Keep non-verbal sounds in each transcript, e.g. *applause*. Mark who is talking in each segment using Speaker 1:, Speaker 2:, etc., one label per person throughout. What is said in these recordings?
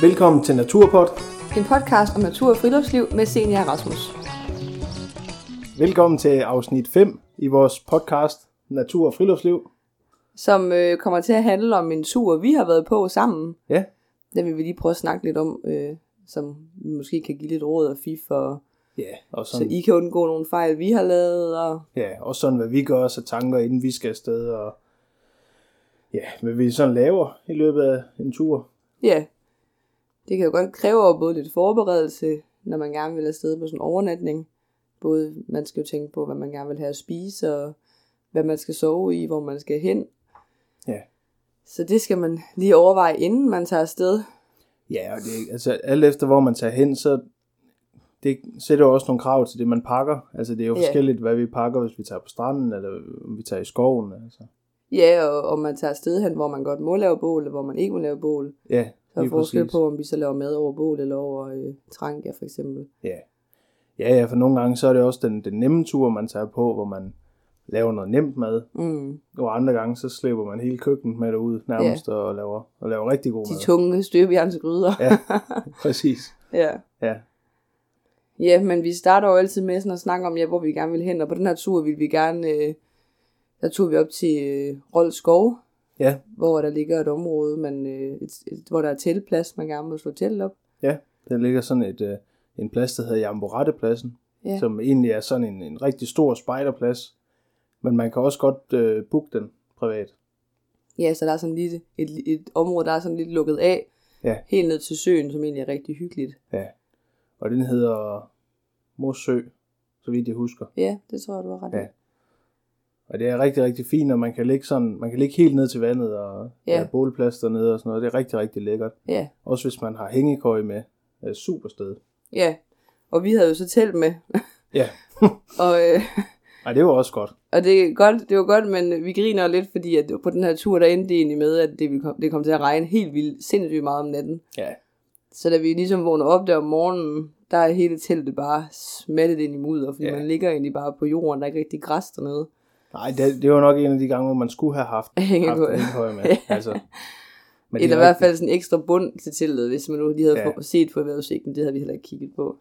Speaker 1: Velkommen til Naturpod.
Speaker 2: En podcast om natur og friluftsliv med Senior Rasmus.
Speaker 1: Velkommen til afsnit 5 i vores podcast Natur og friluftsliv.
Speaker 2: Som øh, kommer til at handle om en tur, vi har været på sammen.
Speaker 1: Ja,
Speaker 2: Den vil vi lige prøve at snakke lidt om, øh, som vi måske kan give lidt råd og fif, og,
Speaker 1: ja. Og,
Speaker 2: så
Speaker 1: sådan,
Speaker 2: I kan undgå nogle fejl, vi har lavet. Og,
Speaker 1: ja, og sådan hvad vi gør os af tanker, inden vi skal afsted. Og ja, hvad vi sådan laver i løbet af en tur.
Speaker 2: ja, det kan jo godt kræve jo både lidt forberedelse, når man gerne vil afsted på sådan en overnatning. Både man skal jo tænke på, hvad man gerne vil have at spise, og hvad man skal sove i, hvor man skal hen.
Speaker 1: Ja.
Speaker 2: Så det skal man lige overveje, inden man tager afsted.
Speaker 1: Ja, og det, altså alt efter hvor man tager hen, så det sætter jo også nogle krav til det, man pakker. Altså det er jo
Speaker 2: Ja.
Speaker 1: forskelligt, hvad vi pakker, hvis vi tager på stranden, eller om vi tager i skoven. Altså.
Speaker 2: Ja, og om man tager afsted hen, hvor man godt må lave bål, eller hvor man ikke må lave bål.
Speaker 1: Ja,
Speaker 2: Der er forskel på, om vi så laver mad over bål, eller over øh, trangia for eksempel.
Speaker 1: Ja. ja, ja, for nogle gange så er det også den, den nemme tur, man tager på, hvor man laver noget nemt mad.
Speaker 2: Mm.
Speaker 1: Og andre gange, så slæber man hele køkkenet med derud nærmest ja. og, laver, og laver rigtig god
Speaker 2: De
Speaker 1: mad.
Speaker 2: tunge støbjernsgryder.
Speaker 1: Ja. *laughs* Præcis.
Speaker 2: ja.
Speaker 1: Ja.
Speaker 2: ja, men vi starter jo altid med sådan at snakke om, ja, hvor vi gerne vil hen, og på den her tur ville vi gerne... Øh, der tog vi op til øh, Rold Skov,
Speaker 1: Ja,
Speaker 2: hvor der ligger et område, man, øh, et, et, hvor der er teltplads, man gerne må slå telt op.
Speaker 1: ja. Der ligger sådan et, øh, en plads, der hedder Jamborettepladsen,
Speaker 2: Ja.
Speaker 1: ja. som egentlig er sådan en, en rigtig stor spejderplads. Men man kan også godt øh, booke den privat.
Speaker 2: Ja, så der er sådan lidt et, et område, der er sådan lidt lukket af,
Speaker 1: Ja.
Speaker 2: helt ned til søen, som egentlig er rigtig hyggeligt.
Speaker 1: Ja. Og den hedder Mosø, så vidt jeg husker.
Speaker 2: Ja, det tror jeg, du har ret i.
Speaker 1: Ja. Og det er rigtig, rigtig fint, og man kan ligge, sådan, man kan ligge helt ned til vandet, og
Speaker 2: Ja.
Speaker 1: ja. der er bålplads dernede og sådan noget. Det er rigtig, rigtig lækkert.
Speaker 2: Ja,
Speaker 1: Også hvis man har hængekøje med. Det er et super sted.
Speaker 2: ja. Og vi havde jo så telt med.
Speaker 1: Ja.
Speaker 2: *laughs* og, øh,
Speaker 1: Ej, det var også godt.
Speaker 2: og det, er godt, det var godt, men vi griner lidt, fordi at på den her tur, der endte det egentlig med, at det, ville kom, det kom til at regne helt vildt sindssygt meget om natten.
Speaker 1: Ja.
Speaker 2: Så da vi ligesom vågner op der om morgenen, der er hele teltet bare smattet ind i mudder, fordi
Speaker 1: Ja.
Speaker 2: man ligger egentlig bare på jorden, der er ikke rigtig græs dernede. *laughs*
Speaker 1: Nej, det, det, var nok en af de gange, hvor man skulle have haft
Speaker 2: Hængekøje.
Speaker 1: haft hængekøje med.
Speaker 2: *laughs* Ja.
Speaker 1: altså. Men det
Speaker 2: Eller
Speaker 1: er
Speaker 2: i hvert
Speaker 1: rigtigt.
Speaker 2: fald sådan en ekstra bund til teltet, hvis man nu lige havde
Speaker 1: Ja.
Speaker 2: ja. set på vejrudsigten, det havde vi heller ikke kigget på.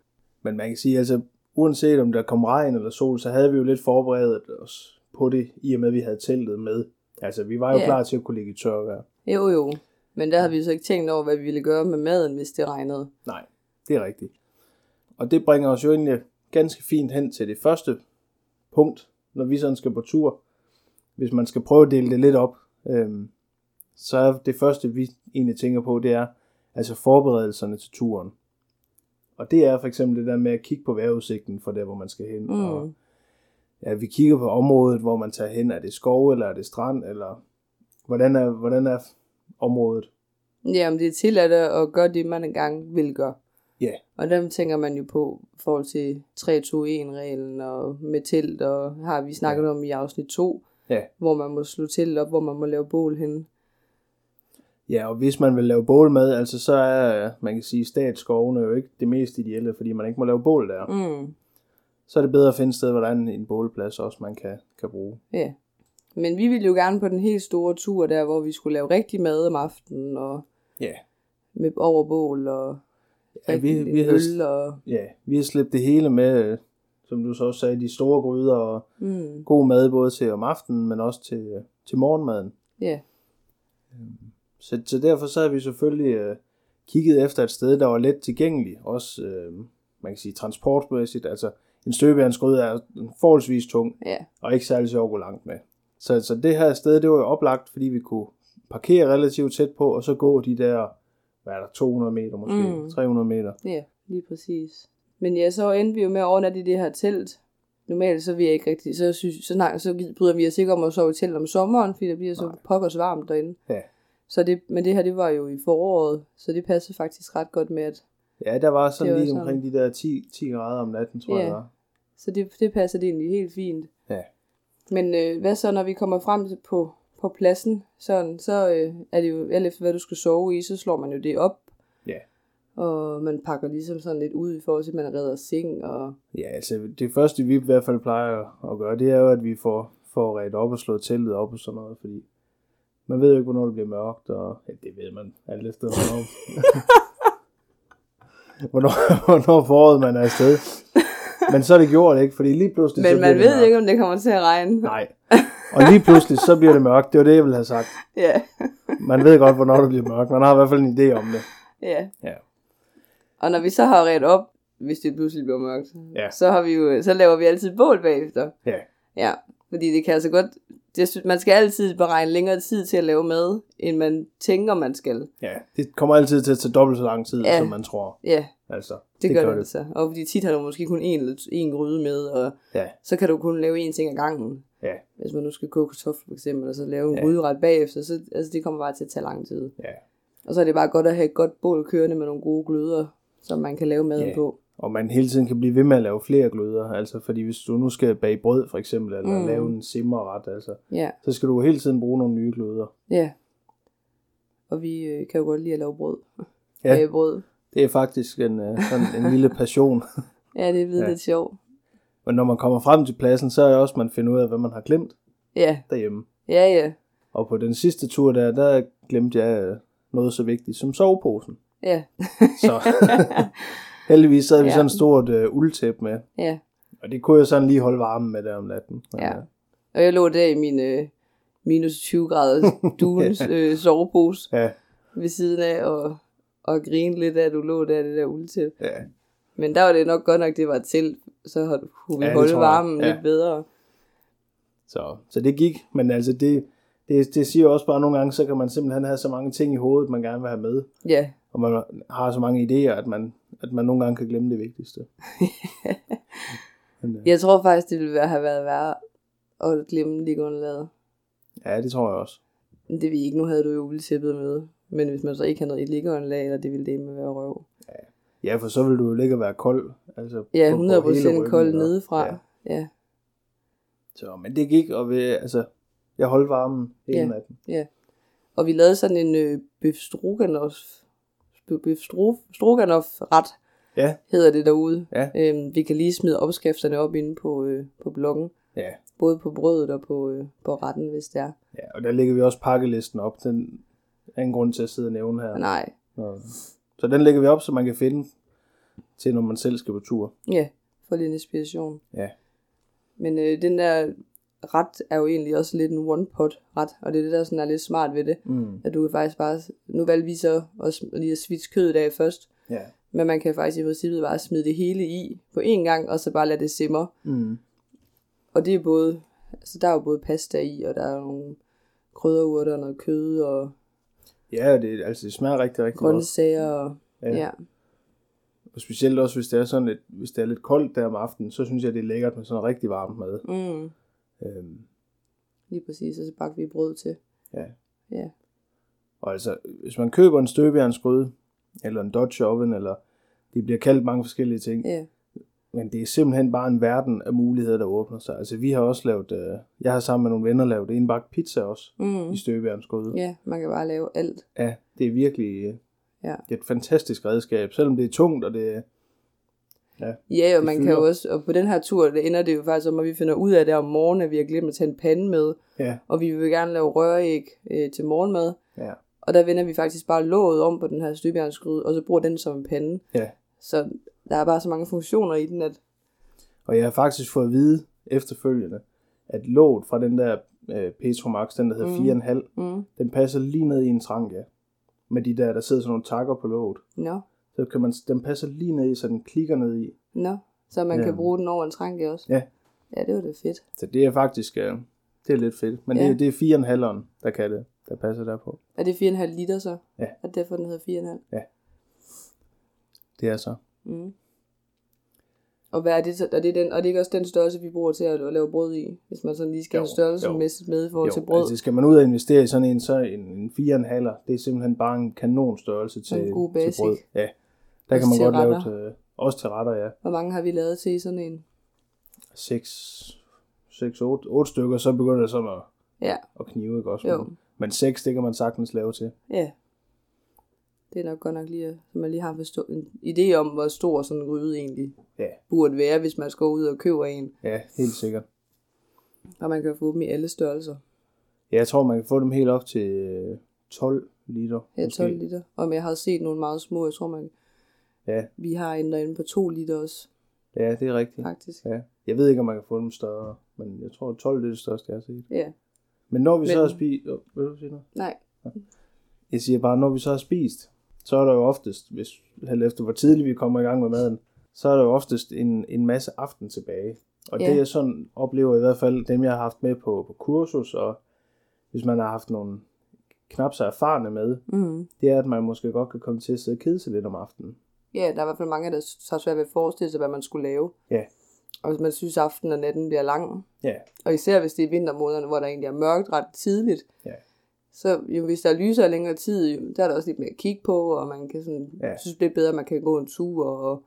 Speaker 1: Men man kan sige, altså, uanset om der kom regn eller sol, så havde vi jo lidt forberedt os på det, i og med, at vi havde teltet med. Altså, vi var jo
Speaker 2: Ja.
Speaker 1: ja. klar til at kunne ligge i tørvejr.
Speaker 2: Jo jo, men der havde vi så ikke tænkt over, hvad vi ville gøre med maden, hvis det regnede.
Speaker 1: Nej, det er rigtigt. Og det bringer os jo egentlig ganske fint hen til det første punkt, når vi sådan skal på tur. Hvis man skal prøve at dele det lidt op, øhm, så er det første, vi egentlig tænker på, det er altså forberedelserne til turen. Og det er for eksempel det der med at kigge på vejrudsigten for der, hvor man skal hen.
Speaker 2: Mm.
Speaker 1: Og, ja, vi kigger på området, hvor man tager hen. Er det skov, eller er det strand, eller hvordan er, hvordan er området?
Speaker 2: Ja, om det er tilladt at gøre det, man engang vil gøre.
Speaker 1: Ja,
Speaker 2: Og dem tænker man jo på i forhold til 3-2-1-reglen og med telt, og har vi snakket ja. om i afsnit 2,
Speaker 1: ja.
Speaker 2: hvor man må slå telt op, hvor man må lave bål henne.
Speaker 1: Ja, og hvis man vil lave bålmad, altså så er, øh, man kan sige, statsskovene jo ikke det mest ideelle, fordi man ikke må lave bål der. Mm.
Speaker 2: Mm.
Speaker 1: Så er det bedre at finde et sted, hvor der er en, en bålplads også, man kan, kan bruge.
Speaker 2: Ja. Men vi ville jo gerne på den helt store tur der, hvor vi skulle lave rigtig mad om aftenen, og
Speaker 1: Ja.
Speaker 2: med over bål, og
Speaker 1: Ja, vi,
Speaker 2: rigtig
Speaker 1: vi,
Speaker 2: øl,
Speaker 1: havde,
Speaker 2: og...
Speaker 1: ja, vi har slæbt det hele med, øh, som du så også sagde, de store gryder og
Speaker 2: Mm.
Speaker 1: god mad både til om aftenen, men også til, øh, til morgenmaden. Øhm,
Speaker 2: Ja.
Speaker 1: Så, så derfor så har vi selvfølgelig øh, kigget efter et sted, der var let tilgængeligt, også øh, man kan sige transportmæssigt, altså en støbejernsgryde er forholdsvis tung,
Speaker 2: ja.
Speaker 1: og ikke særlig sjov at gå langt med. Så, så det her sted, det var jo oplagt, fordi vi kunne parkere relativt tæt på, og så gå de der, hvad er der, 200 meter måske,
Speaker 2: Mm.
Speaker 1: mm. 300 meter.
Speaker 2: Ja, lige præcis. Men ja, så endte vi jo med at overnatte i det her telt. Normalt så vil jeg ikke rigtig, så, synes, så, nej, så gid- bryder vi os ikke om at sove i telt om sommeren, fordi det bliver så pokkers varmt derinde.
Speaker 1: Ja.
Speaker 2: Så det, men det her, det var jo i foråret, så det passede faktisk ret godt med, at
Speaker 1: Ja, der var sådan
Speaker 2: Det var
Speaker 1: lige
Speaker 2: sådan.
Speaker 1: omkring de der 10, 10 grader om natten, tror
Speaker 2: Ja.
Speaker 1: jeg det var.
Speaker 2: så det, det passede det egentlig helt fint.
Speaker 1: Ja.
Speaker 2: Men øh, hvad så, når vi kommer frem til på, på pladsen, sådan, så øh, er det jo, alt efter hvad du skal sove i, så slår man jo det op,
Speaker 1: Ja.
Speaker 2: og man pakker ligesom sådan lidt ud i forhold til, at man redder seng, og
Speaker 1: ja, altså det første, vi i hvert fald plejer at gøre, det er jo, at vi får, får ret op og slået teltet op og sådan noget, fordi man ved jo ikke, hvornår det bliver mørkt, og ja, det ved man alt efter, hvornår, *laughs* hvornår, hvornår foråret man er afsted. Men så er det gjort, ikke? Fordi lige pludselig... så
Speaker 2: Men man
Speaker 1: bliver det
Speaker 2: ved
Speaker 1: mørkt.
Speaker 2: ikke, om det kommer til at regne.
Speaker 1: Nej. Og lige pludselig, så bliver det mørkt. Det var det, jeg ville have sagt.
Speaker 2: Ja,
Speaker 1: Man ved godt, hvornår det bliver mørkt. Man har i hvert fald en idé om det.
Speaker 2: ja.
Speaker 1: Ja.
Speaker 2: Og når vi så har ret op, hvis det pludselig bliver mørkt,
Speaker 1: Ja.
Speaker 2: så, har vi jo, så laver vi altid bål bagefter.
Speaker 1: Ja.
Speaker 2: Ja, fordi det kan altså godt... Jeg synes, man skal altid beregne længere tid til at lave mad, end man tænker, man skal.
Speaker 1: Ja, det kommer altid til at tage dobbelt så lang tid, ja.
Speaker 2: Ja.
Speaker 1: som man tror.
Speaker 2: Ja,
Speaker 1: Altså,
Speaker 2: det, det gør det, altså. Og fordi tit har du måske kun én, eller én gryde med, og
Speaker 1: Ja,
Speaker 2: så kan du kun lave én ting ad gangen.
Speaker 1: ja,
Speaker 2: Hvis man nu skal koge kartofler for eksempel, og så lave en
Speaker 1: Ja.
Speaker 2: ja. gryderet bagefter, så altså, det kommer bare til at tage lang tid.
Speaker 1: ja.
Speaker 2: Og så er det bare godt at have et godt bål kørende med nogle gode gløder, som man kan lave maden
Speaker 1: Ja.
Speaker 2: ja. på.
Speaker 1: Og man hele tiden kan blive ved med at lave flere gløder. Altså, fordi hvis du nu skal bage brød, for eksempel, eller mm.
Speaker 2: Mm.
Speaker 1: lave en simmerret, altså,
Speaker 2: Ja,
Speaker 1: så skal du hele tiden bruge nogle nye gløder.
Speaker 2: ja. Og vi øh, kan jo godt lide at lave brød.
Speaker 1: Ja.
Speaker 2: Øh, brød.
Speaker 1: Det er faktisk en, øh, sådan en lille passion. *laughs*
Speaker 2: Ja, det er blevet
Speaker 1: Ja.
Speaker 2: ja. lidt sjovt.
Speaker 1: Men når man kommer frem til pladsen, så er det også, man finder ud af, hvad man har glemt
Speaker 2: Ja,
Speaker 1: derhjemme.
Speaker 2: ja, ja.
Speaker 1: Og på den sidste tur der, der glemte jeg øh, noget så vigtigt som soveposen. *laughs*
Speaker 2: Ja, *laughs*
Speaker 1: Så heldigvis havde vi
Speaker 2: Ja.
Speaker 1: sådan et stort øh, uldtæp med.
Speaker 2: ja.
Speaker 1: Og det kunne jeg sådan lige holde varmen med der om natten. Men,
Speaker 2: Ja.
Speaker 1: øh,
Speaker 2: Og jeg lå der i min øh, minus 20
Speaker 1: *laughs*
Speaker 2: graders dunes øh, sovepose
Speaker 1: Ja,
Speaker 2: ved siden af, og, og grine lidt af, at du lå der i det der uldtæppe.
Speaker 1: ja,
Speaker 2: Men der var det nok godt nok, det var til, så hold- kunne vi
Speaker 1: Ja,
Speaker 2: ja,
Speaker 1: det
Speaker 2: holde
Speaker 1: tror jeg.
Speaker 2: varmen
Speaker 1: Ja.
Speaker 2: ja. lidt bedre.
Speaker 1: Så, så det gik, men altså det, det, det siger også bare at nogle gange, så kan man simpelthen have så mange ting i hovedet, man gerne vil have med,
Speaker 2: Ja,
Speaker 1: og man har så mange idéer, at man, at man nogle gange kan glemme det
Speaker 2: *laughs*
Speaker 1: vigtigste. men, øh,
Speaker 2: jeg tror faktisk, det ville være- have været værre at glemme liggeunderlaget.
Speaker 1: ja, det tror jeg også.
Speaker 2: Men Det ved jeg ikke, nu havde du jo uldtæppet med. Men hvis man så ikke havde noget i liggeunderlag, eller det ville det med være røv.
Speaker 1: Ja, for så vil du jo ligge og være kold. Altså,
Speaker 2: Ja,
Speaker 1: på- på hele
Speaker 2: 100%
Speaker 1: ryggen,
Speaker 2: kold
Speaker 1: eller-
Speaker 2: nedefra.
Speaker 1: Ja.
Speaker 2: Ja. ja,
Speaker 1: Så, men det gik, og vi, altså, jeg holdt varmen hele
Speaker 2: Ja.
Speaker 1: natten.
Speaker 2: Og vi lavede sådan en øh, bøf stroganoff, bøf stroganoff ret,
Speaker 1: Ja.
Speaker 2: hedder det derude.
Speaker 1: Ja.
Speaker 2: Øhm, vi kan lige smide opskrifterne op inde på, øh, på bloggen,
Speaker 1: Ja.
Speaker 2: både på brødet og på, øh, på retten, hvis det er.
Speaker 1: ja, og der lægger vi også pakkelisten op. Den er en grund til at sidde og nævne her.
Speaker 2: Nej,
Speaker 1: Nå. Så den lægger vi op, så man kan finde til, når man selv skal på tur.
Speaker 2: ja, for lidt inspiration.
Speaker 1: Ja.
Speaker 2: Men øh, den der ret er jo egentlig også lidt en one-pot ret, og det er det, der sådan er lidt smart ved det.
Speaker 1: Mm.
Speaker 2: At du kan faktisk bare, nu valgte vi så også lige at svitse kødet af først,
Speaker 1: Ja.
Speaker 2: men man kan faktisk i princippet bare smide det hele i på én gang, og så bare lade det simmer.
Speaker 1: Mm.
Speaker 2: Og det er både, altså der er jo både pasta i, og der er nogle krydderurter og noget kød og
Speaker 1: Ja, det, altså det smager rigtig, rigtig godt.
Speaker 2: grøntsager. Og,
Speaker 1: Ja.
Speaker 2: ja. ja.
Speaker 1: Og specielt også, hvis det er sådan lidt, hvis det er lidt koldt der om aftenen, så synes jeg, det er lækkert med sådan rigtig varmt mad.
Speaker 2: Mm,
Speaker 1: Øhm,
Speaker 2: lige præcis, og så bagte vi brød til.
Speaker 1: og altså, hvis man køber en støbejernsgryde, eller en Dutch oven, eller de bliver kaldt mange forskellige ting,
Speaker 2: Ja,
Speaker 1: men det er simpelthen bare en verden af muligheder, der åbner sig. Altså, vi har også lavet, øh, jeg har sammen med nogle venner lavet en bagt pizza også,
Speaker 2: mm.
Speaker 1: i støbejernsgryde.
Speaker 2: ja man kan bare lave alt.
Speaker 1: Ja, det er virkelig øh,
Speaker 2: Ja.
Speaker 1: det er et fantastisk redskab, selvom det er tungt, og det er...
Speaker 2: Ja, og
Speaker 1: Det
Speaker 2: man kan
Speaker 1: fylder.
Speaker 2: jo også, og på den her tur, det ender det jo faktisk om, at vi finder ud af det om morgenen, at vi har glemt at tage en pande med,
Speaker 1: Ja,
Speaker 2: og vi vil gerne lave røræg øh, til morgenmad.
Speaker 1: ja,
Speaker 2: Og der vender vi faktisk bare låget om på den her støbjernsgryde, og så bruger den som en pande.
Speaker 1: ja.
Speaker 2: Så der er bare så mange funktioner i den, at
Speaker 1: Og jeg har faktisk fået at vide efterfølgende, at låget fra den der øh, Petromax, den der hedder
Speaker 2: Mhm.
Speaker 1: mm. 4,5,
Speaker 2: mm,
Speaker 1: den passer lige ned i en tranke. Med de der, der sidder sådan nogle takker på låget.
Speaker 2: no,
Speaker 1: Så kan man, den passer lige ned i, så den klikker ned i.
Speaker 2: no. Så
Speaker 1: Ja.
Speaker 2: man ja. kan bruge den over en tranke også.
Speaker 1: Ja.
Speaker 2: Ja, det var da fedt.
Speaker 1: Så det er faktisk, øh, det er lidt fedt. Men ja.
Speaker 2: Ja.
Speaker 1: det, det er 4,5'eren, der kan det, der passer derpå.
Speaker 2: Er det 4,5 liter så?
Speaker 1: Ja.
Speaker 2: Er det derfor, den hedder 4,5?
Speaker 1: Det er så.
Speaker 2: Mm. Og hvad er det så? Er det den, og det er ikke også den størrelse, vi bruger til at lave brød i? Hvis man sådan lige skal
Speaker 1: Jo,
Speaker 2: have størrelsesmæssigt med i forhold til brød.
Speaker 1: altså skal man ud og investere i sådan en, så en, en 4,5'er, det er simpelthen bare en kanonstørrelse til,
Speaker 2: En god
Speaker 1: til
Speaker 2: basic.
Speaker 1: brød. Ja, der kan
Speaker 2: Også
Speaker 1: man
Speaker 2: til
Speaker 1: godt lave
Speaker 2: retter.
Speaker 1: til, også til retter, ja.
Speaker 2: Hvor mange har vi lavet til i sådan en?
Speaker 1: 6, 6 8, 8 stykker, så begynder det sådan at,
Speaker 2: Ja,
Speaker 1: at knive, ikke også?
Speaker 2: Jo.
Speaker 1: Men- Men 6, det kan man sagtens lave til.
Speaker 2: ja. Det er nok godt nok lige, at så man lige har forstå, en idé om, hvor stor sådan en gryde egentlig
Speaker 1: Ja.
Speaker 2: burde være, hvis man skal ud og købe en.
Speaker 1: Ja, helt sikkert.
Speaker 2: Og man kan få dem i alle størrelser.
Speaker 1: Ja, jeg tror, man kan få dem helt op til øh, 12 liter.
Speaker 2: Ja,
Speaker 1: måske.
Speaker 2: 12 liter. Og jeg har set nogle meget små, jeg tror man,
Speaker 1: Ja.
Speaker 2: Vi har en derinde på 2 liter også,
Speaker 1: Ja, det er rigtigt.
Speaker 2: faktisk.
Speaker 1: Ja. Jeg ved ikke, om man kan få dem større, men jeg tror, 12 er det største, jeg har set.
Speaker 2: Ja.
Speaker 1: Men når vi så
Speaker 2: Men-
Speaker 1: har spist... Oh, vil du sige noget?
Speaker 2: Nej.
Speaker 1: Jeg siger bare, når vi så har spist, så er der jo oftest, hvis alt efter hvor tidligt vi kommer i gang med maden, så er der jo oftest en, en masse aften tilbage. Og ja.
Speaker 2: Ja.
Speaker 1: det jeg sådan oplever i hvert fald dem, jeg har haft med på, på kursus, og hvis man har haft nogle knap så erfarne med,
Speaker 2: Mm.
Speaker 1: det er, at man måske godt kan komme til at sidde og kede sig lidt om aftenen.
Speaker 2: Ja, der er i hvert fald mange, der s- har svært ved at forestille sig, hvad man skulle lave.
Speaker 1: Ja.
Speaker 2: Og hvis man synes, at aftenen og natten bliver lang.
Speaker 1: Ja,
Speaker 2: Og især hvis det er vintermånederne, hvor der egentlig er mørkt ret tidligt.
Speaker 1: Ja.
Speaker 2: Så jo, hvis der er lyser i længere tid, jo, der er der også lidt mere at kigge på, og man kan sådan,
Speaker 1: Ja.
Speaker 2: ja. synes det er bedre, at man kan gå en tur. Og,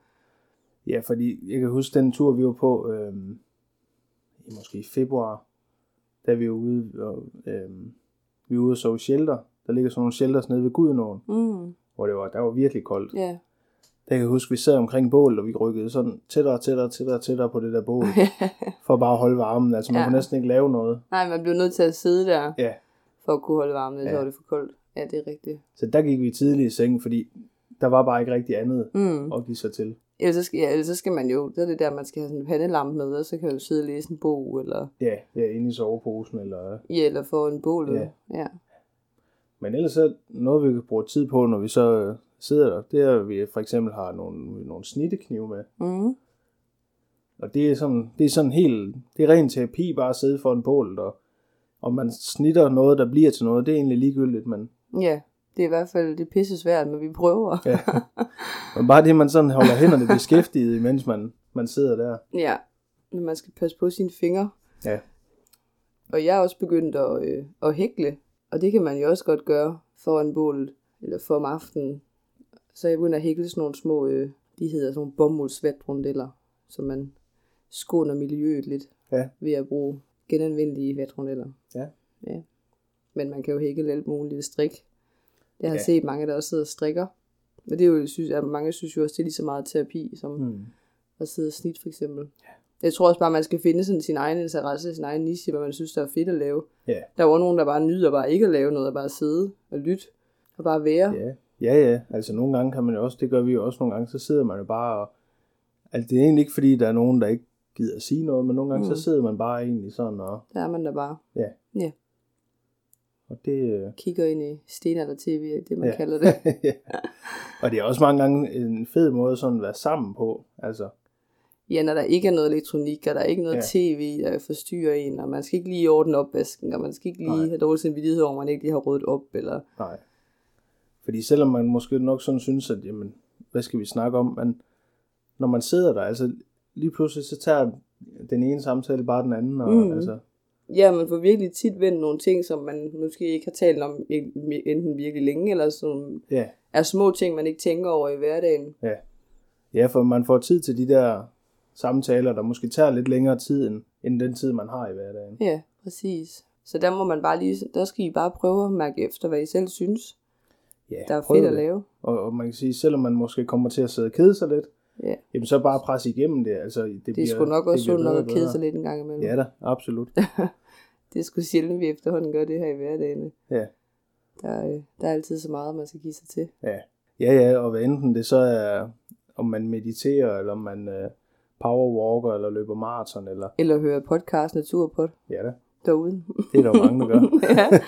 Speaker 1: ja fordi jeg kan huske den tur, vi var på øhm, i måske i februar, da vi var ude og, øhm, vi var ude og sove i shelter. Der ligger sådan nogle shelters nede ved Gudenåen,
Speaker 2: mm,
Speaker 1: hvor det var, der var virkelig koldt.
Speaker 2: ja.
Speaker 1: Der kan jeg huske, vi sad omkring bålet, og vi rykkede sådan tættere og tættere og tættere, og tættere på det der bål, for bare at holde varmen. Altså, man ja.
Speaker 2: Ja.
Speaker 1: kunne næsten ikke lave noget.
Speaker 2: *laughs* Nej, man bliver nødt til at sidde der,
Speaker 1: Ja,
Speaker 2: for at kunne holde varmen, hvis
Speaker 1: Ja.
Speaker 2: ja. det for koldt. Ja, det er rigtigt.
Speaker 1: så der gik vi tidligt i seng, fordi der var bare ikke rigtig andet
Speaker 2: Mm.
Speaker 1: at give sig til.
Speaker 2: Ellers, så skal, ja, ellers så skal man jo, så er det der, man skal have sådan en pandelampe med, og så kan man jo sidde og læse en bog, eller,
Speaker 1: Ja, ja inde i soveposen eller...
Speaker 2: ja, eller få en bål.
Speaker 1: Ja.
Speaker 2: Ja. ja.
Speaker 1: Men ellers så noget, vi kan bruge tid på, når vi så øh, sidder der, det er, at vi for eksempel har nogle, nogle snitteknive med.
Speaker 2: Mm.
Speaker 1: Og det er sådan, det er sådan helt, det er ren terapi bare at sidde foran bålet, og om man snitter noget, der bliver til noget, det er egentlig ligegyldigt, men
Speaker 2: ja. Det er i hvert fald, det er pisse svært, men vi prøver.
Speaker 1: Ja. Men bare det, man sådan holder hænderne beskæftiget, mens man, man sidder der.
Speaker 2: Ja, men man skal passe på sine fingre.
Speaker 1: Ja.
Speaker 2: Og jeg er også begyndt at, øh, at hækle, og det kan man jo også godt gøre foran bålet, eller for om aftenen. Så jeg begynder at hækle sådan nogle små, øh, de hedder sådan nogle bomuldsvatrundeller, så man skåner miljøet lidt
Speaker 1: Ja.
Speaker 2: ved at bruge genanvendelige vatrundeller.
Speaker 1: Ja.
Speaker 2: ja. Men man kan jo hækle alt muligt strik. Jeg har
Speaker 1: Ja.
Speaker 2: ja. set mange, der også sidder og strikker. Men det er jo, synes, at mange synes jo også, det er lige så meget terapi, som
Speaker 1: Hmm.
Speaker 2: at sidde og snit for eksempel. Jeg tror også bare, man skal finde sådan sin egen interesse, sin egen niche, hvad man synes, der er fedt at lave.
Speaker 1: Ja.
Speaker 2: Der er jo også nogen, der bare nyder bare ikke at lave noget, og bare sidde og lytte og bare være.
Speaker 1: ja. Ja, ja. Altså nogle gange kan man jo også, det gør vi jo også nogle gange, så sidder man jo bare og... Altså det er egentlig ikke, fordi der er nogen, der ikke gider at sige noget, men nogle gange mm.
Speaker 2: Mm.
Speaker 1: så sidder man bare egentlig sådan og...
Speaker 2: Der er man der bare
Speaker 1: Og det... øh, *laughs*
Speaker 2: kigger ind i stenalder tv, det man
Speaker 1: Ja.
Speaker 2: ja.
Speaker 1: *laughs*
Speaker 2: kalder det.
Speaker 1: ja. Og det er også mange gange en fed måde sådan at være sammen på. Altså,
Speaker 2: Ja, når der ikke er noget elektronik, og der er ikke noget
Speaker 1: Ja.
Speaker 2: ja. tv, der forstyrrer en, og man skal ikke lige ordne opvasken, og man skal ikke lige
Speaker 1: Nej.
Speaker 2: Nej. have dårlig samvittighed over, at man ikke lige har ryddet op, eller
Speaker 1: nej. Fordi selvom man måske nok sådan synes, at jamen, hvad skal vi snakke om, men når man sidder der, altså lige pludselig så tager den ene samtale bare den anden, og mm.
Speaker 2: Mm.
Speaker 1: altså,
Speaker 2: Ja, man får virkelig tit vendt nogle ting, som man måske ikke har talt om i- enten virkelig længe, eller som
Speaker 1: ja,
Speaker 2: er små ting, man ikke tænker over i hverdagen.
Speaker 1: Ja, for man får tid til de der samtaler, der måske tager lidt længere tid, end, end den tid, man har i hverdagen.
Speaker 2: Ja, præcis. Så der må man bare lige, der skal I bare prøve at mærke efter, hvad I selv synes,
Speaker 1: Ja,
Speaker 2: der er
Speaker 1: prøv
Speaker 2: fedt at
Speaker 1: det.
Speaker 2: lave.
Speaker 1: Og, og man kan sige, selvom man måske kommer til at sidde og kede sig lidt,
Speaker 2: Ja.
Speaker 1: jamen så bare presse igennem det. Altså, det,
Speaker 2: Det er sgu nok
Speaker 1: det
Speaker 2: også
Speaker 1: bliver
Speaker 2: sundt nok
Speaker 1: bedre
Speaker 2: at
Speaker 1: og
Speaker 2: kede
Speaker 1: bedre.
Speaker 2: sig lidt en gang imellem.
Speaker 1: Ja da, absolut.
Speaker 2: Det er sgu sjældent, vi efterhånden gør det her i hverdagen.
Speaker 1: Ja.
Speaker 2: Der, øh, der er altid så meget, man skal give sig til.
Speaker 1: Ja, ja, og hvad enten det så er, om man mediterer, eller om man øh, powerwalker, eller løber maraton, eller...
Speaker 2: Eller høre podcast Naturpod
Speaker 1: Ja da,
Speaker 2: derude. *laughs*
Speaker 1: det er der jo mange, der gør.
Speaker 2: ja,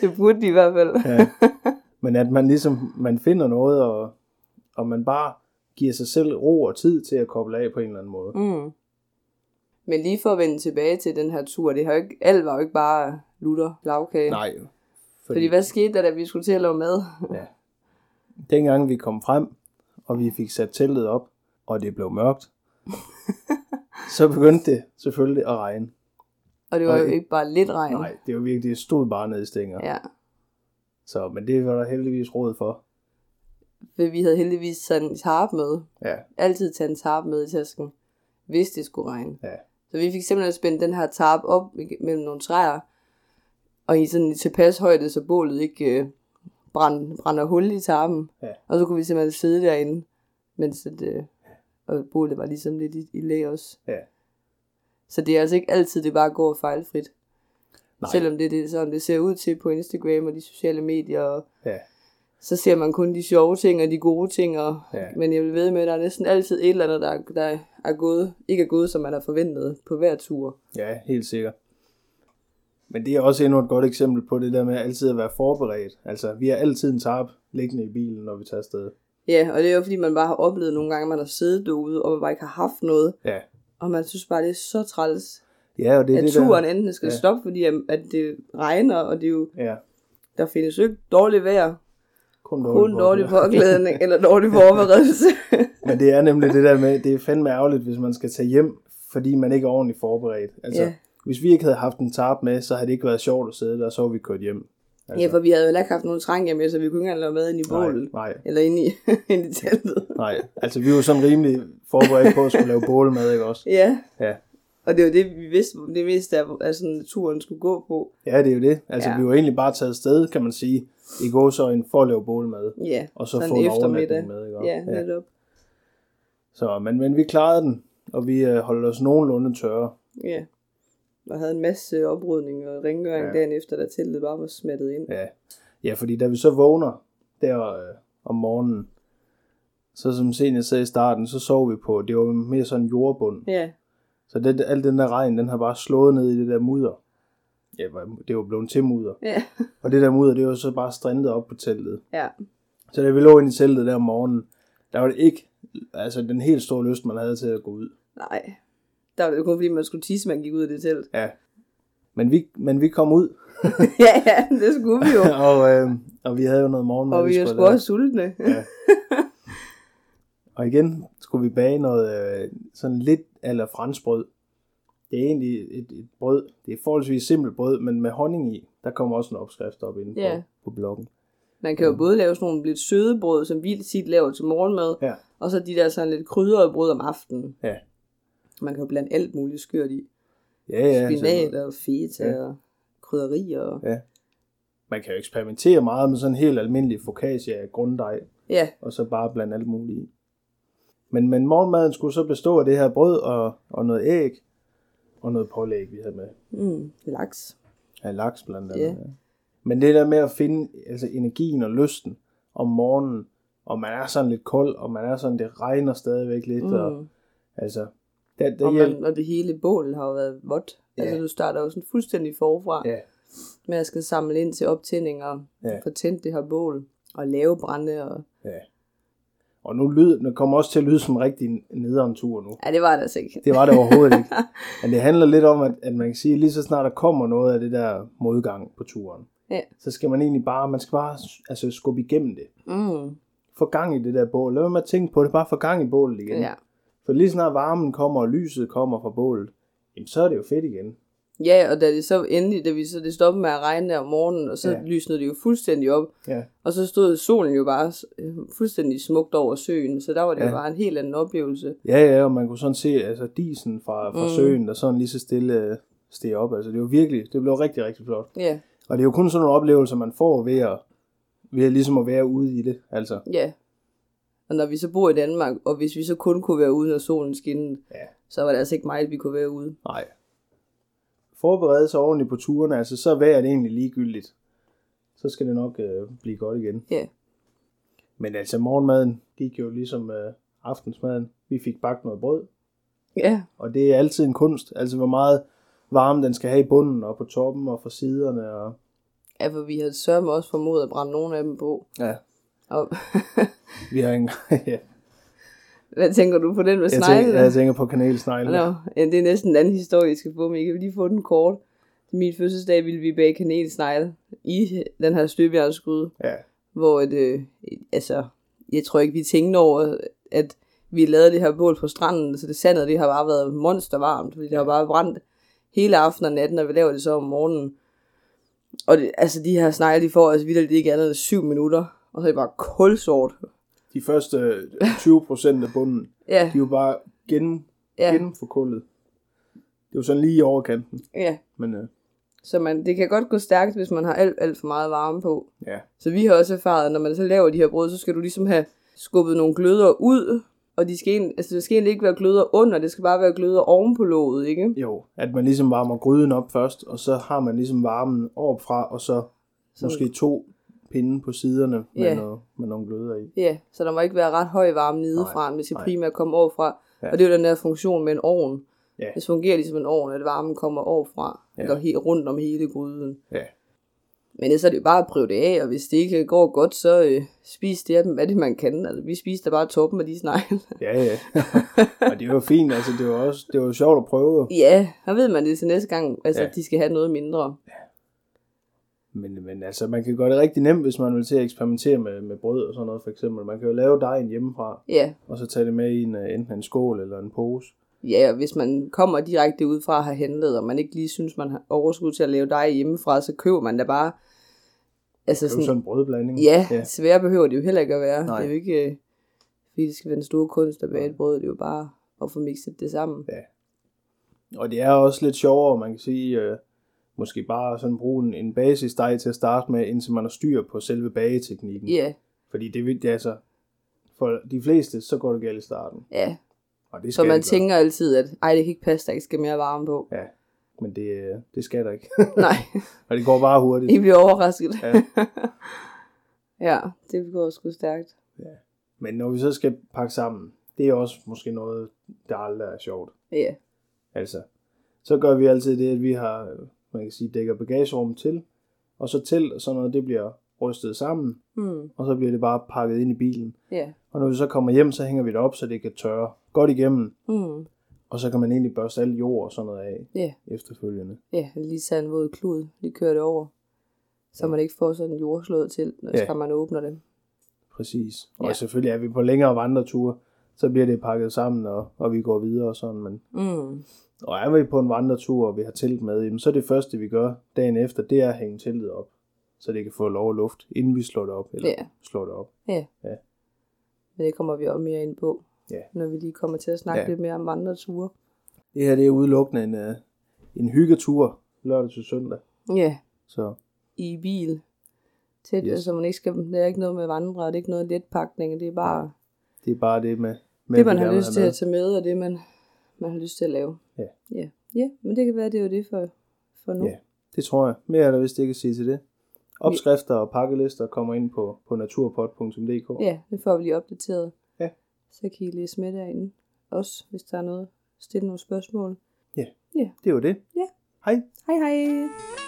Speaker 2: det burde de i hvert fald.
Speaker 1: Ja. Men at man ligesom, man finder noget, og, og man bare giver sig selv ro og tid til at koble af på en eller anden måde.
Speaker 2: Mm. Men lige for at vende tilbage til den her tur, det har jo ikke, alt var jo ikke bare lutter lavkage.
Speaker 1: Nej,
Speaker 2: fordi... fordi hvad skete der, da vi skulle til at lave mad?
Speaker 1: dengang vi kom frem, og vi fik sat teltet op, og det blev mørkt, så begyndte det selvfølgelig at regne.
Speaker 2: Og det var jo
Speaker 1: Okay.
Speaker 2: ikke bare lidt regn.
Speaker 1: Nej, det var virkelig, det stod bare nede i stænger. Ja.
Speaker 2: Ja,
Speaker 1: Så, men det var der heldigvis råd for.
Speaker 2: for vi havde heldigvis sådan tarp med.
Speaker 1: Ja,
Speaker 2: Altid tage en tarp med i tasken, hvis det skulle regne.
Speaker 1: ja,
Speaker 2: Så vi fik simpelthen spændt den her tarp op ig- mellem nogle træer, og i sådan en tilpas højde, så bålet ikke øh, brænd, brænder hul i tarpen.
Speaker 1: Ja.
Speaker 2: Og så kunne vi simpelthen sidde derinde, mens det, øh, og bålet var ligesom lidt i, i læ også.
Speaker 1: ja.
Speaker 2: Så det er altså ikke altid, det bare går fejlfrit.
Speaker 1: Nej,
Speaker 2: Selvom det er det, sådan, det ser ud til på Instagram og de sociale medier og
Speaker 1: ja.
Speaker 2: så ser man kun de sjove ting og de gode ting. Og,
Speaker 1: Ja.
Speaker 2: ja. Men jeg vil ved med, at der er næsten altid et eller andet, der, der er gået, ikke er gået, som man har forventet på hver tur.
Speaker 1: Ja, helt sikkert. Men det er også endnu et godt eksempel på det der med altid at være forberedt. Altså, vi har altid en tarp liggende i bilen, når vi tager afsted.
Speaker 2: Ja, og det er jo fordi, man bare har oplevet nogle gange, at man har siddet derude, og man bare ikke har haft noget.
Speaker 1: Ja,
Speaker 2: Og man synes bare, det er så træls,
Speaker 1: ja og det er
Speaker 2: at
Speaker 1: det
Speaker 2: turen enten skal
Speaker 1: Ja.
Speaker 2: ja. stoppe, fordi at at det regner, og det er jo,
Speaker 1: der... Ja,
Speaker 2: der findes jo ikke dårligt vejr,
Speaker 1: kun dårligt.
Speaker 2: kun
Speaker 1: *laughs*
Speaker 2: dårlig
Speaker 1: forberedt.
Speaker 2: forklædning eller dårlig forberedelse.
Speaker 1: Men det er nemlig det der med, det er fandme ærgerligt, hvis man skal tage hjem, fordi man ikke er ordentligt forberedt. Altså,
Speaker 2: Ja.
Speaker 1: hvis vi ikke havde haft en tarp med, så havde det ikke været sjovt at sidde der, og så var vi kørt hjem.
Speaker 2: ja, for vi havde jo heller ikke haft nogen trang med, så vi kunne ikke engang lave mad ind i
Speaker 1: nej,
Speaker 2: bålet.
Speaker 1: nej,
Speaker 2: Eller ind i, *laughs* ind i teltet.
Speaker 1: nej. Altså, vi var sådan rimelig forberedt på at skulle lave bålmad, ikke også?
Speaker 2: Ja,
Speaker 1: Ja.
Speaker 2: og det var det, vi vidste, det meste af altså, turen skulle gå på.
Speaker 1: Ja, det er jo det. Altså, ja.
Speaker 2: Ja.
Speaker 1: vi var egentlig bare taget sted, kan man sige, i gåsøjne for at lave bålmad.
Speaker 2: Ja,
Speaker 1: Og så
Speaker 2: sådan
Speaker 1: få en
Speaker 2: eftermiddag.
Speaker 1: overnatning med, ikke? også?
Speaker 2: ja, netop.
Speaker 1: Så, men, men vi klarede den, og vi øh, holdt os nogenlunde tørre.
Speaker 2: Ja. Og havde en masse oprydning og rengøring
Speaker 1: Ja.
Speaker 2: ja. dagen efter, da teltet bare var smattet ind.
Speaker 1: Ja. ja, fordi da vi så vågner der øh, om morgenen, så som senior sagde i starten, så sov vi på, det var mere sådan jordbund.
Speaker 2: Ja,
Speaker 1: Så det, al den der regn, den har bare slået ned i det der mudder. Ja, hvad- det var blevet til mudder.
Speaker 2: ja,
Speaker 1: Og det der mudder, det var så bare strindet op på teltet.
Speaker 2: ja.
Speaker 1: Så da vi lå ind i teltet der om morgenen, der var det ikke altså, den helt store lyst, man havde til at gå ud.
Speaker 2: Nej. Der var det jo kun fordi, man skulle tisse, man gik ud af det telt. *laughs*
Speaker 1: Ja. Men vi, men vi kom ud,
Speaker 2: ja, ja, det skulle vi jo.
Speaker 1: *laughs* og, øh, og vi havde jo noget morgenmad.
Speaker 2: og vi var
Speaker 1: skulle
Speaker 2: sgu
Speaker 1: lave.
Speaker 2: også sultne.
Speaker 1: Ja. Og igen skulle vi bage noget øh, sådan lidt eller franskbrød. Det er egentlig et, et brød. Det er forholdsvis simpelt brød, men med honning i. Der kommer også en opskrift op inde på,
Speaker 2: Ja.
Speaker 1: på bloggen.
Speaker 2: Man kan jo både lave sådan nogle lidt søde brød, som vi tit laver til morgenmad,
Speaker 1: Ja.
Speaker 2: og så de der sådan lidt krydrede brød om aftenen.
Speaker 1: Ja.
Speaker 2: Man kan jo blande alt muligt skørt i.
Speaker 1: Ja, ja. altså,
Speaker 2: Spinat og feta
Speaker 1: Ja.
Speaker 2: ja. og krydderier. Og...
Speaker 1: man kan jo eksperimentere meget med sådan en helt almindelig focaccia af grunddej,
Speaker 2: Ja,
Speaker 1: og så bare blande alt muligt i. Men, men morgenmaden skulle så bestå af det her brød og, og noget æg, og noget pålæg, vi havde med.
Speaker 2: mm, laks.
Speaker 1: Af laks blandt andet.
Speaker 2: Ja.
Speaker 1: Ja. Men det der med at finde altså, energien og lysten om morgenen, og man er sådan lidt kold, og man er sådan, det regner stadigvæk lidt, mm. og
Speaker 2: Mm.
Speaker 1: altså, der, der
Speaker 2: Og,
Speaker 1: hjælper.
Speaker 2: man, og det hele bål har jo været vådt.
Speaker 1: Ja.
Speaker 2: Altså, du starter jo sådan fuldstændig forfra.
Speaker 1: Ja,
Speaker 2: med at skal samle ind til optænding og
Speaker 1: Ja.
Speaker 2: ja. få tændt det her bål og lave brænde. Og...
Speaker 1: ja. Og nu lyder, det kommer også til at lyde som en rigtig nederen tur nu.
Speaker 2: Ja, det var det altså ikke.
Speaker 1: Det var det overhovedet
Speaker 2: *laughs*
Speaker 1: ikke. Men det handler lidt om, at, at man kan sige, at lige så snart der kommer noget af det der modgang på turen,
Speaker 2: Ja.
Speaker 1: så skal man egentlig bare, man skal bare altså, skubbe igennem det.
Speaker 2: Mm,
Speaker 1: Få gang i det der bål. Lad være med at tænke på det, bare få gang i bålet igen.
Speaker 2: ja.
Speaker 1: For lige snart varmen kommer, og lyset kommer fra bålet, jamen så er det jo fedt igen.
Speaker 2: ja, og da det så endelig, da vi så det stoppede med at regne der om morgenen, og så
Speaker 1: Ja.
Speaker 2: ja. lysnede det jo fuldstændig op,
Speaker 1: Ja.
Speaker 2: og så stod solen jo bare øh, fuldstændig smukt over søen, så der var det ja.
Speaker 1: Ja.
Speaker 2: jo bare en helt anden oplevelse.
Speaker 1: Ja, ja, og man kunne sådan se altså, disen fra, fra mm.
Speaker 2: Mm.
Speaker 1: søen, der sådan lige så stille øh, steg op. Altså det var virkelig, det blev rigtig, rigtig flot.
Speaker 2: Ja,
Speaker 1: Og det er jo kun sådan nogle oplevelser, man får ved at, ved at ligesom at være ude i det. Altså,
Speaker 2: ja. Og når vi så bor i Danmark, og hvis vi så kun kunne være ude, når solen skinnede,
Speaker 1: ja,
Speaker 2: så var det altså ikke meget, vi kunne være ude.
Speaker 1: nej. Forberede sig ordentligt på turene, altså så er vejret egentlig ligegyldigt. Så skal det nok øh, blive godt igen.
Speaker 2: Ja,
Speaker 1: Men altså morgenmaden gik jo ligesom øh, aftensmaden. Vi fik bagt noget brød,
Speaker 2: ja,
Speaker 1: Og det er altid en kunst, altså hvor meget varme den skal have i bunden og på toppen og fra siderne. Og...
Speaker 2: ja for vi havde sørme også formået at brænde nogle af dem på.
Speaker 1: Ja.
Speaker 2: Og *laughs*
Speaker 1: Vi har en... *laughs* ja.
Speaker 2: Hvad tænker du på den med
Speaker 1: jeg, tænker,
Speaker 2: sneglene?
Speaker 1: jeg tænker på kanelsneglene.
Speaker 2: Nå, ja, det er næsten en anden historie, I skal få, men I kan lige få den kort. Til min fødselsdag ville vi bage kanelsnegle i den her støbjernsgryde,
Speaker 1: Ja.
Speaker 2: hvor et, øh, et- altså, jeg tror ikke, vi tænkte over, at vi lavede det her bål på stranden, så det sandet, det har bare været monstervarmt, fordi det har bare brændt hele aftenen og natten, og vi laver det så om morgenen. Og det, altså, de her snegle, de får altså vildt ikke andet end syv minutter, og så er det bare kulsort.
Speaker 1: De første øh, 20 procent af bunden,
Speaker 2: Ja,
Speaker 1: de er jo bare gen, ja.
Speaker 2: ja,
Speaker 1: gennemforkullet. Det er jo sådan lige i overkanten.
Speaker 2: ja.
Speaker 1: Men øh,
Speaker 2: Så man, det kan godt gå stærkt, hvis man har alt, alt for meget varme på.
Speaker 1: ja,
Speaker 2: Så vi har også erfaret, at når man så laver de her brød, så skal du ligesom have skubbet nogle gløder ud. Og de skal en, altså, det skal egentlig ikke være gløder under, det skal bare være gløder oven på låget, ikke?
Speaker 1: jo. At man ligesom varmer gryden op først, og så har man ligesom varmen ovenfra, og så
Speaker 2: Så-
Speaker 1: måske to pinde på siderne med,
Speaker 2: Ja.
Speaker 1: noget, med nogle gløder i.
Speaker 2: Ja, så der må ikke være ret høj varme
Speaker 1: Nej,
Speaker 2: nedefra, men det skal
Speaker 1: nej.
Speaker 2: primært komme overfra.
Speaker 1: Ja.
Speaker 2: Ja. Og det er jo den der funktion med en ovn.
Speaker 1: Ja.
Speaker 2: Det fungerer ligesom en ovn, at varmen kommer overfra,
Speaker 1: Ja.
Speaker 2: ja. eller helt rundt om hele gryden.
Speaker 1: Ja.
Speaker 2: Men ellers er det jo bare at prøve det af, og hvis det ikke går godt, så øh, spis det af dem, hvad det man kan. Altså, vi spiste da bare toppen af de snegle.
Speaker 1: Ja, ja. *laughs* og det var fint, altså det var også det var sjovt at prøve,
Speaker 2: *laughs* ja, så ved man det til næste gang, altså,
Speaker 1: Ja.
Speaker 2: ja. de skal have noget mindre.
Speaker 1: men, men altså man kan gøre det rigtig nemt, hvis man vil til at eksperimentere med, med brød og sådan noget for eksempel. Man kan jo lave dejen hjemmefra,
Speaker 2: Ja,
Speaker 1: og så tage det med i en, øh, enten en skål eller en pose.
Speaker 2: ja og hvis man kommer direkte ud fra at have handlet, og man ikke lige synes, man har overskud til at lave dig hjemmefra, så køber man da bare... Altså
Speaker 1: Det er jo sådan en brødblanding.
Speaker 2: Ja, ja. svære behøver det jo heller ikke at
Speaker 1: Nej.
Speaker 2: være. Nej. Det er jo ikke, øh, fordi det skal være den store kunst at bage et brød. Det er jo bare at få mixet det sammen.
Speaker 1: Og det er også lidt sjovere, man kan sige, øh, måske bare sådan bruge en, en basisdej til at starte med, indtil man har styr på selve bageteknikken.
Speaker 2: Ja,
Speaker 1: Fordi det vil, det er altså, for de fleste, så går det galt i starten.
Speaker 2: ja.
Speaker 1: Og det
Speaker 2: Så
Speaker 1: skal
Speaker 2: man
Speaker 1: det gøre.
Speaker 2: tænker altid, at ej, det kan ikke passe, der ikke skal mere
Speaker 1: *laughs*
Speaker 2: varme på.
Speaker 1: Ja, men det, øh, det skal der ikke. *laughs*
Speaker 2: Nej,
Speaker 1: og det går bare hurtigt.
Speaker 2: I bliver overrasket.
Speaker 1: Ja.
Speaker 2: Ja, *laughs* ja det går sgu stærkt.
Speaker 1: Men når vi så skal pakke sammen, det er også måske noget, der aldrig er sjovt.
Speaker 2: Ja,
Speaker 1: Altså, så gør vi altid det, at vi har, øh, man kan sige, dækker bagagerummet til, og så telt og sådan noget, det bliver rystet sammen,
Speaker 2: hmm.
Speaker 1: og så bliver det bare pakket ind i bilen.
Speaker 2: ja.
Speaker 1: Og når vi så kommer hjem, så hænger vi det op, så det kan tørre godt igennem,
Speaker 2: Hmm.
Speaker 1: og så kan man egentlig børste al jord og sådan noget af
Speaker 2: ja.
Speaker 1: efterfølgende.
Speaker 2: Ja, lige tage en våd klud, lige køre det over. Så man ikke får sådan en jordslået til, når
Speaker 1: Ja.
Speaker 2: ja. man åbner det.
Speaker 1: Præcis. Og ja.
Speaker 2: Ja.
Speaker 1: selvfølgelig er vi på længere vandreture, så bliver det pakket sammen, og, og vi går videre og sådan. Men,
Speaker 2: Mm.
Speaker 1: og er vi på en vandretur, og vi har telt med, jamen, så er det første, vi gør dagen efter, det er at hænge teltet op, så det kan få lov at luft, inden vi slår det op, eller
Speaker 2: Ja.
Speaker 1: slår det op.
Speaker 2: Men det kommer vi også mere ind på,
Speaker 1: Ja.
Speaker 2: når vi lige kommer til at snakke
Speaker 1: Ja.
Speaker 2: ja. lidt mere om vandreture.
Speaker 1: Det her, det er udelukkende en, øh, en hyggetur lørdag til søndag.
Speaker 2: Ja,
Speaker 1: Så
Speaker 2: i bil. Tæt,
Speaker 1: Yes.
Speaker 2: yes. så man ikke skal, det er ikke noget med vandre, og det er ikke noget letpakning, det er bare
Speaker 1: det er bare det med, med
Speaker 2: det, man
Speaker 1: vi
Speaker 2: har
Speaker 1: gerne vil
Speaker 2: lyst
Speaker 1: have
Speaker 2: til
Speaker 1: med.
Speaker 2: at tage med, og det, man, man har lyst til at lave.
Speaker 1: Ja.
Speaker 2: Ja, ja men det kan være, det er jo det for, for nu.
Speaker 1: Ja. Det tror jeg. Mere er der vist ikke at sige til det. Opskrifter og pakkelister kommer ind på, på naturpot.dk.
Speaker 2: ja, det får vi lige opdateret.
Speaker 1: Ja.
Speaker 2: Så kan I lige smitte derinde. Også, hvis der er noget. Stille nogle spørgsmål.
Speaker 1: Det er jo det.
Speaker 2: Ja.
Speaker 1: Hej.
Speaker 2: Hej hej!